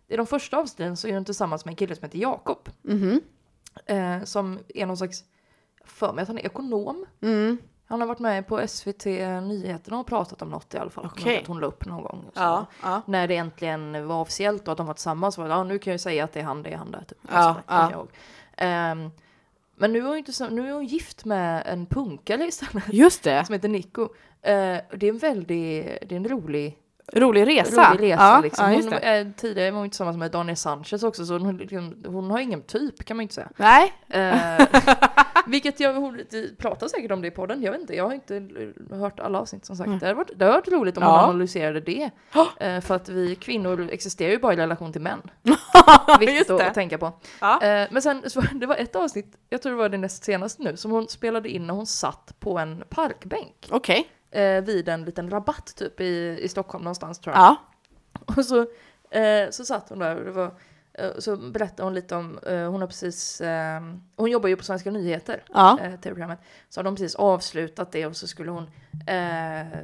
S3: i de första avsnitten så är hon tillsammans med en kille som heter Jakob.
S2: Mhm.
S3: Eh, som är någon slags, för mig att han är ekonom.
S2: Mm.
S3: Han har varit med på SVT Nyheterna och pratat om något i alla fall. Jag kommer
S2: Okej.
S3: ihåg Att hon la upp någon gång. och så.
S2: Ja, ja.
S3: När det äntligen var officiellt och att de var tillsammans var det, ja nu kan jag ju säga att det är han, det är han där. Typ.
S2: Ja,
S3: Alltså, det kan
S2: ja.
S3: jag ihåg. Ehm, men nu är, hon inte så, nu är hon gift med en punkare istället
S2: Just det.
S3: som heter Nico. Eh, och det är en väldigt, det är en rolig,
S2: Rolig resa.
S3: rolig resa
S2: ja,
S3: liksom.
S2: Ja, just
S3: hon,
S2: det.
S3: eh, tidigare var hon tillsammans med Daniel Sanchez också så hon, liksom, hon har ingen typ kan man ju inte säga.
S2: Nej, [laughs]
S3: Eh, vilket jag hon pratar säkert om det i podden, jag vet inte, jag har inte l- hört alla avsnitt som sagt. Det hade varit, det hade varit roligt om
S2: Mm. Ja.
S3: hon analyserade det. Eh, för att vi kvinnor existerar ju bara i relation till
S2: [laughs]
S3: män. Viktigt
S2: just
S3: att,
S2: det.
S3: att tänka på.
S2: Ja.
S3: Eh, men sen, så, [laughs] det var ett avsnitt, jag tror det var det näst senaste nu, som hon spelade in när hon satt på en parkbänk.
S2: Okej.
S3: Eh, vid en liten rabatt typ i, i Stockholm någonstans tror jag.
S2: Ja.
S3: [laughs] Och så, eh, så satt hon där och det var, eh, så berättade hon lite om, eh, hon har precis, eh, hon jobbar ju på Svenska nyheter,
S2: Ja.
S3: eh, tv-programmet, så har de precis avslutat det och så skulle hon eh,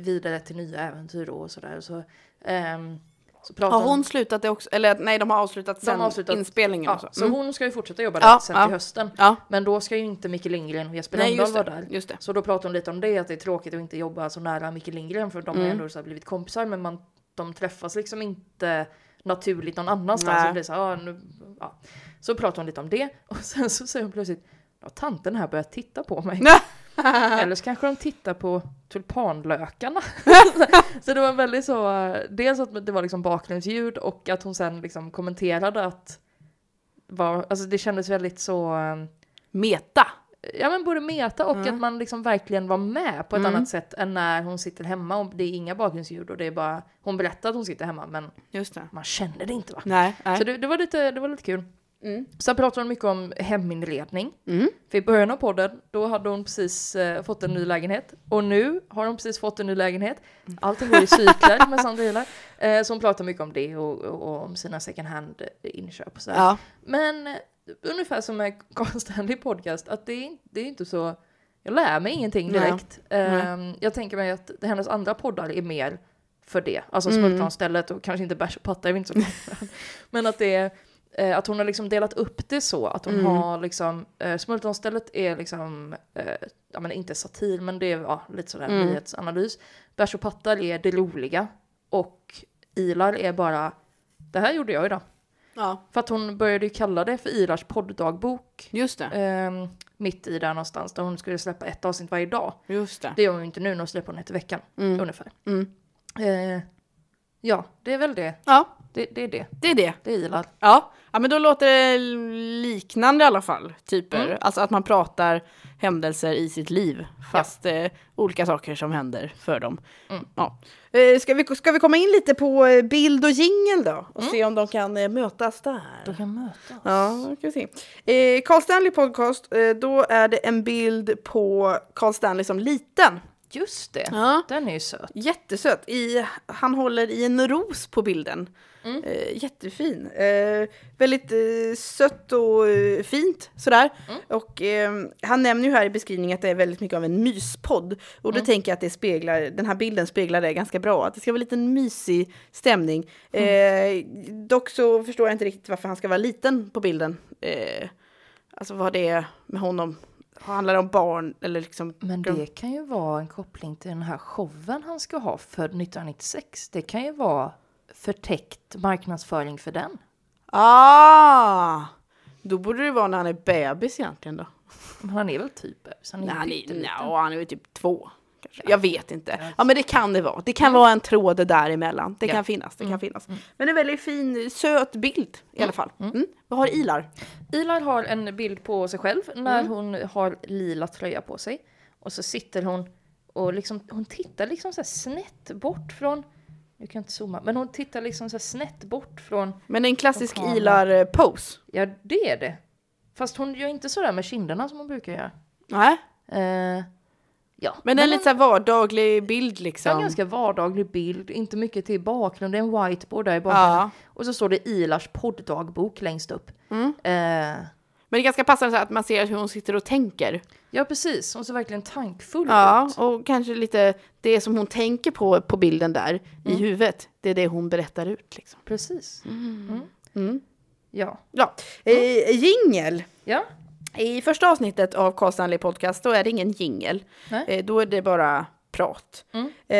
S3: vidare till nya äventyr och sådär. Och Så, ehm, så pratade
S2: Har hon slutat det också? Eller nej, de har avslutat
S3: De
S2: sen
S3: har avslutat-
S2: inspelningen
S3: ja,
S2: och så.
S3: så
S2: Mm.
S3: hon ska ju fortsätta jobba där
S2: Ja,
S3: sen
S2: ja.
S3: till hösten.
S2: Ja.
S3: Men då ska ju inte Micke Lindgren och Jesper
S2: Nej,
S3: Lundahl
S2: just
S3: vara
S2: det.
S3: där.
S2: Just det.
S3: Så då pratar hon lite om det, att det är tråkigt att inte jobba så nära Micke Lindgren för de har ju
S2: Mm.
S3: ändå så här blivit kompisar men man, de träffas liksom inte naturligt någon annanstans.
S2: Nej.
S3: Så, det blir så, här, ah, nu, ja. så pratar hon lite om det [laughs] och sen så säger hon plötsligt Ja, tanten här börjar titta på
S2: [laughs]
S3: mig. Eller så kanske de tittar på
S2: [laughs]
S3: tulpanlökarna. så det var väldigt så, eh, dels att det var liksom bakgrundsljud och att hon sen liksom kommenterade att var, alltså det kändes väldigt så eh,
S2: Meta.
S3: ja, men både meta och att man liksom verkligen var med på ett
S2: Mm.
S3: annat sätt än när hon sitter hemma och det är inga bakgrundsljud och det är bara hon berättar att hon sitter hemma men
S2: Just det.
S3: man känner det inte va.
S2: Nej. nej.
S3: Så det, det, var lite, det var lite kul.
S2: Mm.
S3: Sen pratade hon mycket om heminredning.
S2: Mm.
S3: För i början av podden, då hade hon precis eh, fått en ny lägenhet. Och nu har hon precis fått en ny lägenhet. Allting går i cykler med Sandra Hylar. Eh, så hon pratar mycket om det och, och, och om sina second hand-inköp och sådär.
S2: Ja.
S3: Men eh, ungefär som med [laughs] konstnärlig podcast, att det är, in- det är inte så... Jag lär mig ingenting
S2: Nej.
S3: direkt. Ehm, jag tänker mig att hennes andra poddar är mer för det. Alltså
S2: Mm.
S3: Smultronstället och kanske inte Bärs och pattar, jag vet inte så
S2: [laughs]
S3: Men att det är... eh, Att hon har liksom delat upp det så att
S2: Mm.
S3: hon har liksom, eh, Smultronstället är liksom, eh, ja men inte satir men det är ja, lite sådär
S2: Mm.
S3: nyhetsanalys. Bärs och pattar är det roliga och Ilar är bara, det här gjorde jag idag.
S2: ja.
S3: För att hon började ju kalla det för Ilars podddagbok.
S2: Just det.
S3: ehm, mitt i där någonstans där hon skulle släppa ett avsnitt varje dag.
S2: Just det.
S3: Det gör hon ju inte nu, när hon släpper hon ett i veckan. Ungefär.
S2: Mm.
S3: Eh, ja, det är väl det.
S2: Ja,
S3: det. Det är det.
S2: det är det.
S3: Det är Ilar.
S2: Ja. ja, men då låter det liknande i alla fall. Typer. Alltså att man pratar händelser i sitt liv. Fast eh, olika saker som händer för dem. Ja. Eh, ska, vi, ska vi komma in lite på eh, bild och jingel då? Och se om de kan eh, mötas där.
S3: kan möta.
S2: Ja, då ska vi se. Eh, Carl Stanley podcast, eh, då är det en bild på Carl Stanley som liten.
S3: Just det.
S2: Ja.
S3: Den är ju söt.
S2: Jättesöt. I, han håller i en ros på bilden.
S3: Mm.
S2: Eh, jättefin. Eh, väldigt eh, sött och eh, fint sådär.
S3: Mm.
S2: Och eh, han nämner ju här i beskrivningen att det är väldigt mycket av en myspodd. Och
S3: Mm.
S2: då tänker jag att det speglar, den här bilden speglar det ganska bra. Att det ska vara lite mysig stämning.
S3: Mm.
S2: Eh, dock så förstår jag inte riktigt varför han ska vara liten på bilden. Eh, alltså vad det är med honom. Handlar det om barn eller liksom...
S3: Men det kan ju vara en koppling till den här showen han ska ha för 1996. Det kan ju vara förtäckt marknadsföring för den.
S2: Ah! Då borde det vara när han är bebis egentligen då.
S3: Men han är väl typ bebis? Han är
S2: Nej,
S3: ju
S2: han är,
S3: pytteliten.
S2: no, han är väl typ två. Kanske. Jag vet inte. Ja Mm. men det kan det vara. Det kan vara en tråd däremellan. Det
S3: Ja.
S2: kan finnas, det kan finnas. Men en väldigt fin, söt bild i alla fall. Mm. Mm. Vad har Ilar?
S3: Ilar har en bild på sig själv när
S2: Mm.
S3: hon har lila tröja på sig. Och så sitter hon och liksom, hon tittar liksom så här snett bort från, nu kan jag inte zooma, men hon tittar liksom så här snett bort från,
S2: Men en klassisk eh,
S3: Och kameran.
S2: Ilar-pose.
S3: ja det är det. Fast hon gör inte sådär med kinderna som hon brukar göra.
S2: Nej.
S3: Eh, Ja.
S2: Men en lite så här vardaglig bild
S3: Det är
S2: liksom.
S3: en ganska vardaglig bild, inte mycket till bakgrund, det är en whiteboard där i bakom.
S2: Ja.
S3: Och så står det Ilars podddagbok längst upp.
S2: Mm.
S3: Eh,
S2: Men det är ganska passande så här att man ser hur hon sitter och tänker.
S3: ja, precis. Hon ser verkligen tankfull
S2: Ja,
S3: ut.
S2: och kanske lite det som hon tänker på på bilden där i huvudet, det är det hon berättar ut liksom.
S3: Precis. Mm. Ja.
S2: Ja, eh, jingel.
S3: ja.
S2: I första avsnittet av Karl Stanley Podcast, då är det ingen jingel.
S3: Nej. Mm.
S2: Eh, då är det bara prat. Eh,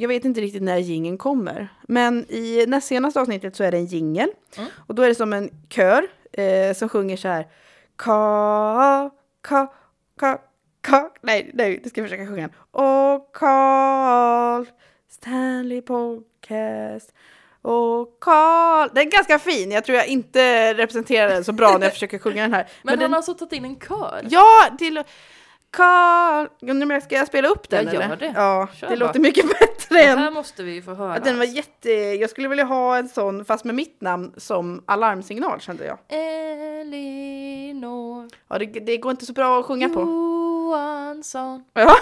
S2: jag vet inte riktigt när jingeln kommer. Men i näst senaste avsnittet så är det en jingel.
S3: Mm.
S2: Och då är det som en kör eh, som sjunger så här. Ka, ka, ka, ka. Nej, nej, det ska jag försöka sjunga. Och Karl Stanley Podcast. Och Karl. Den är ganska fin. Jag tror jag inte representerar den så bra när jag försöker sjunga den här.
S3: [laughs] Men, han
S2: den...
S3: har alltså tagit in en kör.
S2: Ja, till... Karl... Ja, nu menar jag, Ska jag spela upp den
S3: Ja, gör
S2: eller?
S3: det.
S2: Ja,
S3: Kör
S2: det
S3: bara.
S2: låter mycket bättre
S3: Det
S2: än...
S3: här måste vi ju få höra.
S2: Att den var jätte... Jag skulle vilja ha en sån, fast med mitt namn, som alarmsignal kände jag.
S3: Elinor
S2: Ja, det, det går inte så bra att sjunga på.
S3: Johansson.
S2: [laughs] Ja.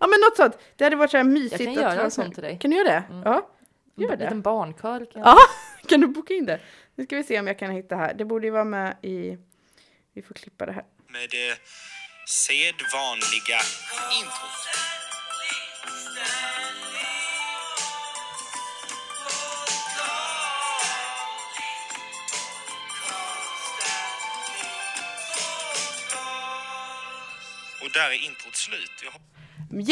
S2: ja, men något sånt. Det hade varit så här
S3: Jag
S2: mysigt.
S3: kan
S2: att
S3: göra
S2: höra
S3: en sån
S2: sen.
S3: till dig. Mm.
S2: Kan du göra det? Ja. Gör
S3: En
S2: det.
S3: liten barnkör. Kan jag.
S2: Ja, [laughs] kan du boka in det? Nu ska vi se om jag kan hitta här. Det borde ju vara med i... Vi får klippa det här.
S4: med det sedvanliga introt. Och där är introt slut. Jag hoppas-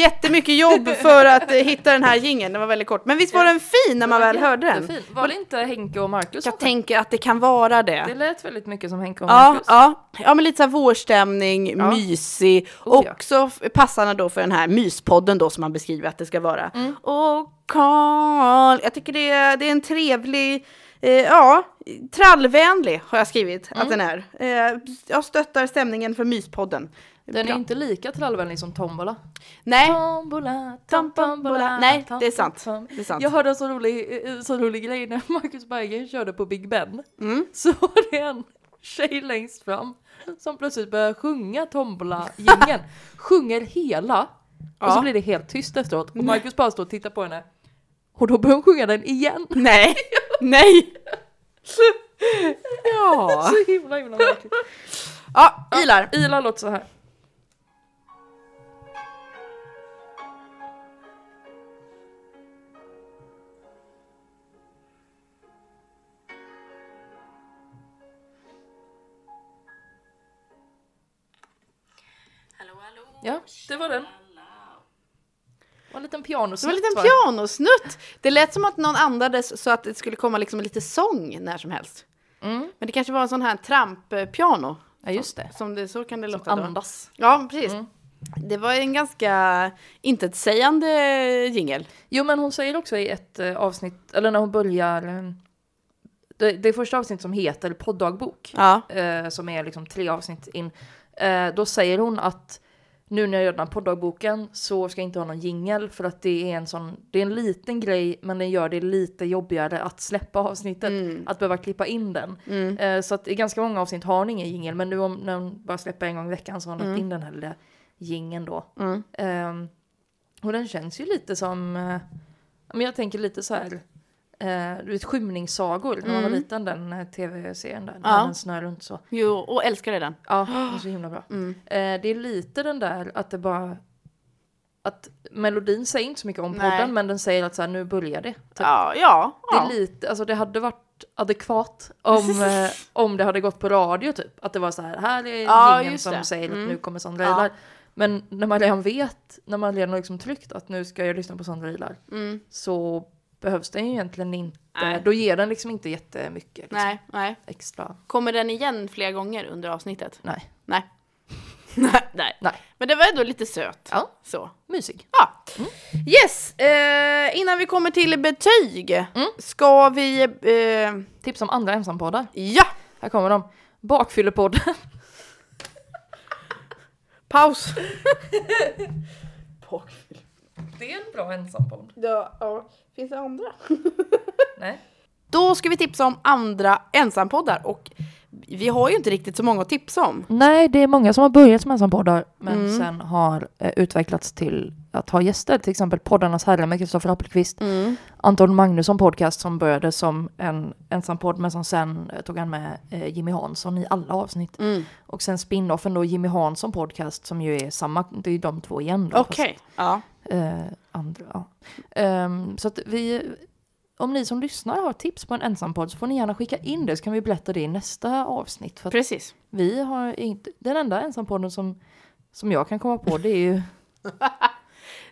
S2: Jättemycket jobb för att eh, hitta den här jingeln. Den var väldigt kort. Men visst var den fin när man väl hörde den?
S3: Jättefin. Var det inte Henke och Marcus? som
S2: Jag tänker att det kan vara
S3: Det
S2: det.
S3: lät väldigt mycket som Henke och
S2: Ja,
S3: Marcus.
S2: ja, ja, men lite så här vårstämning, mysig.
S3: Oh, ja.
S2: Också f- passande då för den här myspodden då som man beskriver att det ska vara.
S3: Mm.
S2: Och Karl, jag tycker det är, det är en trevlig, eh, ja, trallvänlig har jag skrivit att
S3: Mm.
S2: den är. Eh, jag stöttar stämningen för myspodden.
S3: Den är
S2: Bra.
S3: inte lika trallvänlig som Tombola.
S2: Nej,
S3: Tombola, tombola.
S2: Nej, det är
S3: tom,
S2: sant.
S3: tom.
S2: Det är sant.
S3: Jag hörde en så rolig, eh, så rolig grej när Marcus Berggren körde på Big Ben.
S2: Mm.
S3: Så var det en tjej längst fram som plötsligt började sjunga
S2: [laughs]
S3: tombola-gingen. Sjunger hela. Och så
S2: Ja.
S3: blir det helt tyst efteråt. Och Marcus bara står och tittar på henne. Och då börjar hon sjunga den
S2: [laughs]
S3: igen.
S2: nej, nej. ja.
S3: Så himla himla märkligt.
S2: ja, Ilar.
S3: Ila låter så här.
S5: Hallå, hallå!
S3: Ja, det var den. Och en liten
S2: Det var en
S3: pianosnutt.
S2: liten
S3: va?
S2: pianosnutt. Det lät som att någon andades så att det skulle komma liksom lite sång när som helst.
S3: Mm.
S2: Men det kanske var en sån här tramppiano.
S3: Ja, just det.
S2: Som Mm. det, så kan det låta. då.
S3: Andas.
S2: Ja, precis. Det var en ganska intetsägande jingel.
S3: Jo men hon säger också i ett eh, avsnitt, eller när hon börjar, eh, det, det är första avsnitt som heter poddagbok,
S2: Ja.
S3: eh, som är liksom tre avsnitt in, eh, då säger hon att nu när jag gör den här poddagboken så ska jag inte ha någon jingel för att det är en sån, det är en liten grej men den gör det lite jobbigare att släppa avsnittet, att behöva klippa in den. Eh, så att i ganska många avsnitt har hon ingen jingel men nu om, när hon bara släpper en gång i veckan så har hon lagt in den här lilla jingeln då. Ehm, och den känns ju lite som, eh, men jag tänker lite så här, eh, du vet skymningssagor, när man var liten den eh, tv-serien där, när
S2: Ja.
S3: den snör runt så.
S2: Jo, och älskade den.
S3: Ja,
S2: [gasps]
S3: den är så himla bra.
S2: Mm.
S3: Eh, det är lite den där att det bara, att melodin säger inte så mycket om
S2: Nej.
S3: podden men den säger att så här, nu börjar det. Typ.
S2: Ja, ja.
S3: Det
S2: ja.
S3: är lite, alltså det hade varit adekvat om,
S2: [laughs]
S3: eh, om det hade gått på radio typ. Att det var så här, här är
S2: Ja,
S3: ingen
S2: just
S3: som
S2: det. Mm.
S3: säger att nu kommer Sandra
S2: Ja.
S3: Ilar. Men när man redan vet, när man redan har liksom tryckt att nu ska jag lyssna på Sandra Ilar. Så behövs den ju egentligen inte,
S2: Mm. Nej.
S3: då ger den liksom inte jättemycket liksom,
S2: Nej, nej.
S3: extra.
S2: Kommer den igen flera gånger under avsnittet?
S3: Nej.
S2: Nej. [laughs] nej, nej.
S3: Nej.
S2: Men det var ändå lite söt.
S3: Ja.
S2: Så.
S3: Mysig.
S2: Ja. Yes, eh, innan vi kommer till betyg ska vi... Eh,
S3: Tips om andra ensampoddar.
S2: ja,
S3: Här kommer de. Bakfyllepodden.
S2: paus.
S3: [laughs] Det är en bra ensampodd.
S2: ja, ja. Finns det andra?
S3: Nej.
S2: Då ska vi tipsa om andra ensampoddar och vi har ju inte riktigt så många att tipsa om.
S3: Nej, det är många som har börjat som ensampoddar men sen har eh, utvecklats till att ha gäster. Till exempel Poddarnas herre med Kristoffer Appelqvist. Anton Magnusson podcast som började som en ensampodd men som sen eh, tog han med eh, Jimmy Hansson i alla avsnitt. Och sen spinoffen då Jimmy Hansson podcast som ju är samma, det är ju de två igen då. fast
S2: Ja.
S3: Eh, andra, ja. Ehm, så att vi, om ni som lyssnar har tips på en ensampodd så får ni gärna skicka in det så kan vi berätta det i nästa avsnitt. För att
S2: Precis.
S3: vi har inte, den enda ensampodden som, som jag kan komma på det är ju,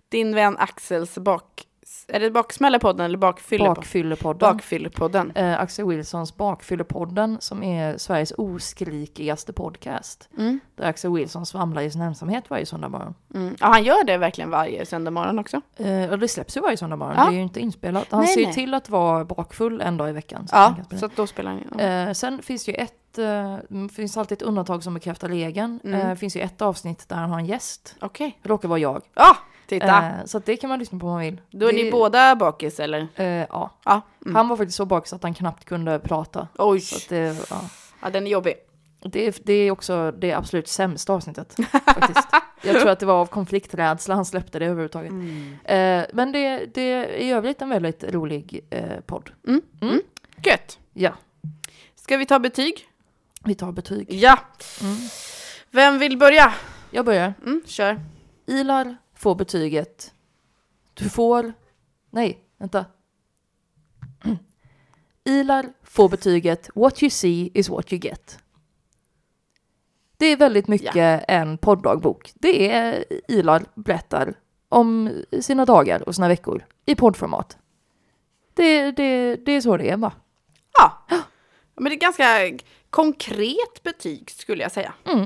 S2: Din vän Axels bak... Är det baksmällepodden eller bakfyllepodden?
S3: Bakfyllepodden.
S2: Bakfyllepodden.
S3: Eh, Axel Wilsons Bakfyllepodden som är Sveriges oskrikigaste podcast. Där Axel Wilson svamlar i sin ensamhet varje söndag morgon.
S2: Mm. Ja, han gör det verkligen varje söndag morgon också.
S3: Eh, och det släpps ju varje söndag morgon,
S2: Ja.
S3: det är ju inte inspelat. Han
S2: Nej,
S3: ser ju
S2: nej.
S3: till att vara bakfull en dag i veckan. så
S2: Ja,
S3: tänker jag på det.
S2: så att då spelar han ja.
S3: Eh, sen finns det ju ett, eh, m- finns alltid ett undantag som bekräftar regeln.
S2: Mm.
S3: Eh, finns ju ett avsnitt där han har en gäst.
S2: Okej.
S3: Det råkar vara jag.
S2: Ja, titta!
S3: Eh, så att det kan man lyssna på om man vill.
S2: då är
S3: det,
S2: ni båda Mm. bakis eller?
S3: Eh, ja.
S2: Ja.
S3: Han var faktiskt så bakis att han knappt kunde prata.
S2: Oj,
S3: Så att det, ja.
S2: ja, den är jobbig.
S3: det, är- det är också det absolut sämsta
S2: [laughs]
S3: avsnittet. faktiskt. Jag tror att det var av konflikträdsla han släppte det överhuvudtaget.
S2: Mm.
S3: Eh, men det, det är i övrigt en väldigt rolig eh, podd.
S2: Gött!
S3: Ja,
S2: Ska vi ta betyg? Mm.
S3: vi tar betyg.
S2: Ja! Vem vill börja?
S3: Jag börjar.
S2: Mm, kör.
S3: Ilar får betyget Du får... Nej, vänta. [clears throat] Ilar får betyget What you see is what you get. Det är väldigt mycket en podddagbok. Det är Ilar berättar om sina dagar och sina veckor i poddformat. Det, det, det är så det är va?
S2: Ja. Ja, Men det är ganska konkret betyg skulle jag säga. Mm.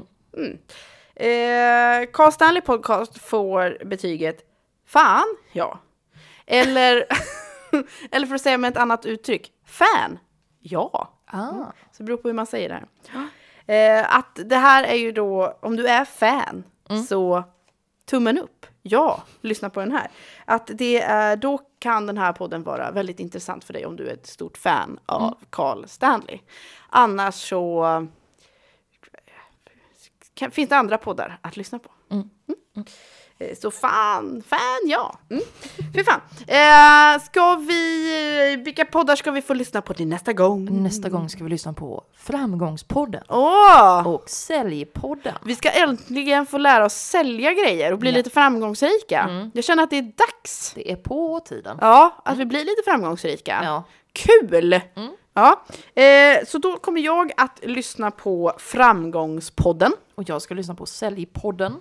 S2: Eh, Carl Stanley Podcast får betyget Fan, ja. Eller, [laughs] eller för att säga med ett annat uttryck, Fan, ja.
S3: Ah.
S2: Så det beror på hur man säger det här. Eh, att det här är ju då, om du är fan, så tummen upp. Ja, lyssna på den här. Att det är, då kan den här podden vara väldigt intressant för dig om du är ett stort fan av Carl Stanley. Annars så kan, finns det andra poddar att lyssna på. Mm. Eh, Så fan, fan ja. Mm. Fy fan. Eh, ska vi, eh, vilka poddar ska vi få lyssna på till nästa gång?
S3: Mm. Nästa gång ska vi lyssna på Framgångspodden
S2: Åh!
S3: och Säljpodden.
S2: Vi ska äntligen få lära oss sälja grejer och bli lite framgångsrika.
S3: Mm.
S2: Jag känner att det är dags.
S3: Det är på tiden.
S2: Ja, att vi blir lite framgångsrika.
S3: Ja. Mm.
S2: Kul! Ja. Eh, så då kommer jag att lyssna på Framgångspodden.
S3: Och jag ska lyssna på Säljpodden.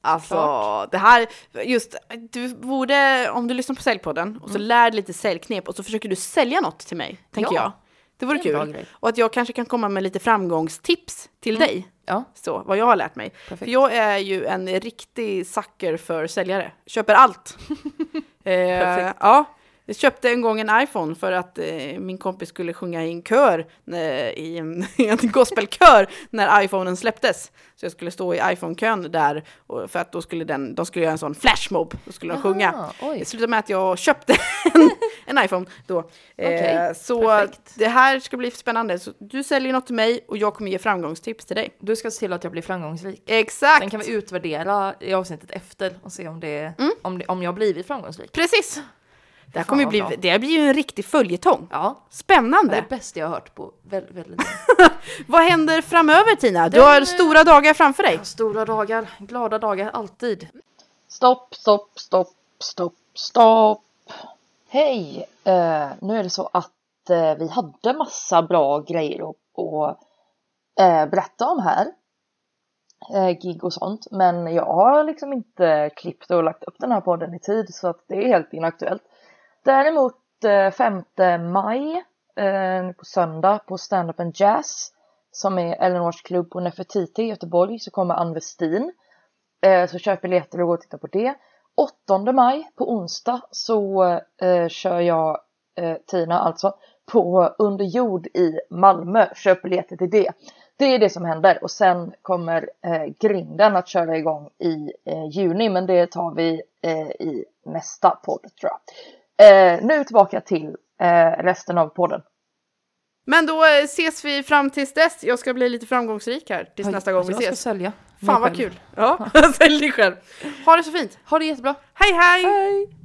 S2: Alltså,
S3: Klart.
S2: det här, just, du borde, om du lyssnar på Säljpodden och så lär dig lite säljknep och så försöker du sälja något till mig, tänker
S3: Mm. Ja.
S2: jag. Det vore
S3: Det är en bra
S2: kul.
S3: grej. Mm.
S2: Och att jag kanske kan komma med lite framgångstips till dig.
S3: Ja.
S2: Så, vad jag har lärt mig.
S3: Perfekt.
S2: För jag är ju en riktig sucker för säljare. Köper allt.
S3: [laughs]
S2: eh, ja. Jag köpte en gång en iPhone för att eh, min kompis skulle sjunga i en kör, eh, i en, [laughs] i en gospelkör, när iPhonen släpptes. Så jag skulle stå i iPhone-kön där, och, för att då skulle den, de skulle göra en sån flashmob, då skulle de sjunga.
S3: Ah, oj.
S2: Det slutade med att jag köpte [laughs] en, en iPhone då. Eh,
S3: Okej,
S2: så
S3: perfekt.
S2: det här ska bli spännande. Så du säljer något till mig och jag kommer ge framgångstips till dig.
S3: Du ska se till att jag blir framgångsrik.
S2: Exakt!
S3: Sen kan vi utvärdera i avsnittet efter och se om, det, om, det, om jag har blivit framgångsrik.
S2: Precis! Det här kommer ju
S3: vad
S2: bli,
S3: bra.
S2: det här blir ju en riktig följetong.
S3: Ja, det
S2: Spännande!
S3: är det bästa jag har hört på väldigt, väldigt länge.
S2: Vad händer framöver Tina? Du har stora dagar framför dig.
S3: Stora dagar, glada dagar, alltid.
S6: Stopp, stopp, stopp, stopp, stopp. Hej! Eh, nu är det så att eh, vi hade massa bra grejer att, att eh, berätta om här. Eh, gig och sånt. Men jag har liksom inte klippt och lagt upp den här podden i tid så att det är helt inaktuellt. Däremot eh, 5 maj, eh, nu på söndag, på Stand Up and Jazz som är Eleanors klubb på Nefertiti i Göteborg så kommer Ann Westin. Eh, så köp biljetter och gå och titta på det. 8 maj på onsdag så eh, kör jag eh, Tina alltså på Under jord i Malmö. Köp biljetter till det. Det är det som händer och sen kommer eh, grinden att köra igång i eh, juni men det tar vi eh, i nästa podd tror jag. Eh, nu tillbaka till eh, resten av podden.
S2: Men då eh, ses vi fram tills dess. Jag ska bli lite framgångsrik här tills nästa gång vi
S3: Jag
S2: ses.
S3: ska sälja. mig
S2: Fan vad
S3: själv.
S2: [laughs] kul! Ja, sälj dig själv. Ha det så fint!
S3: Ha det jättebra.
S2: hej! hej.
S3: Hej!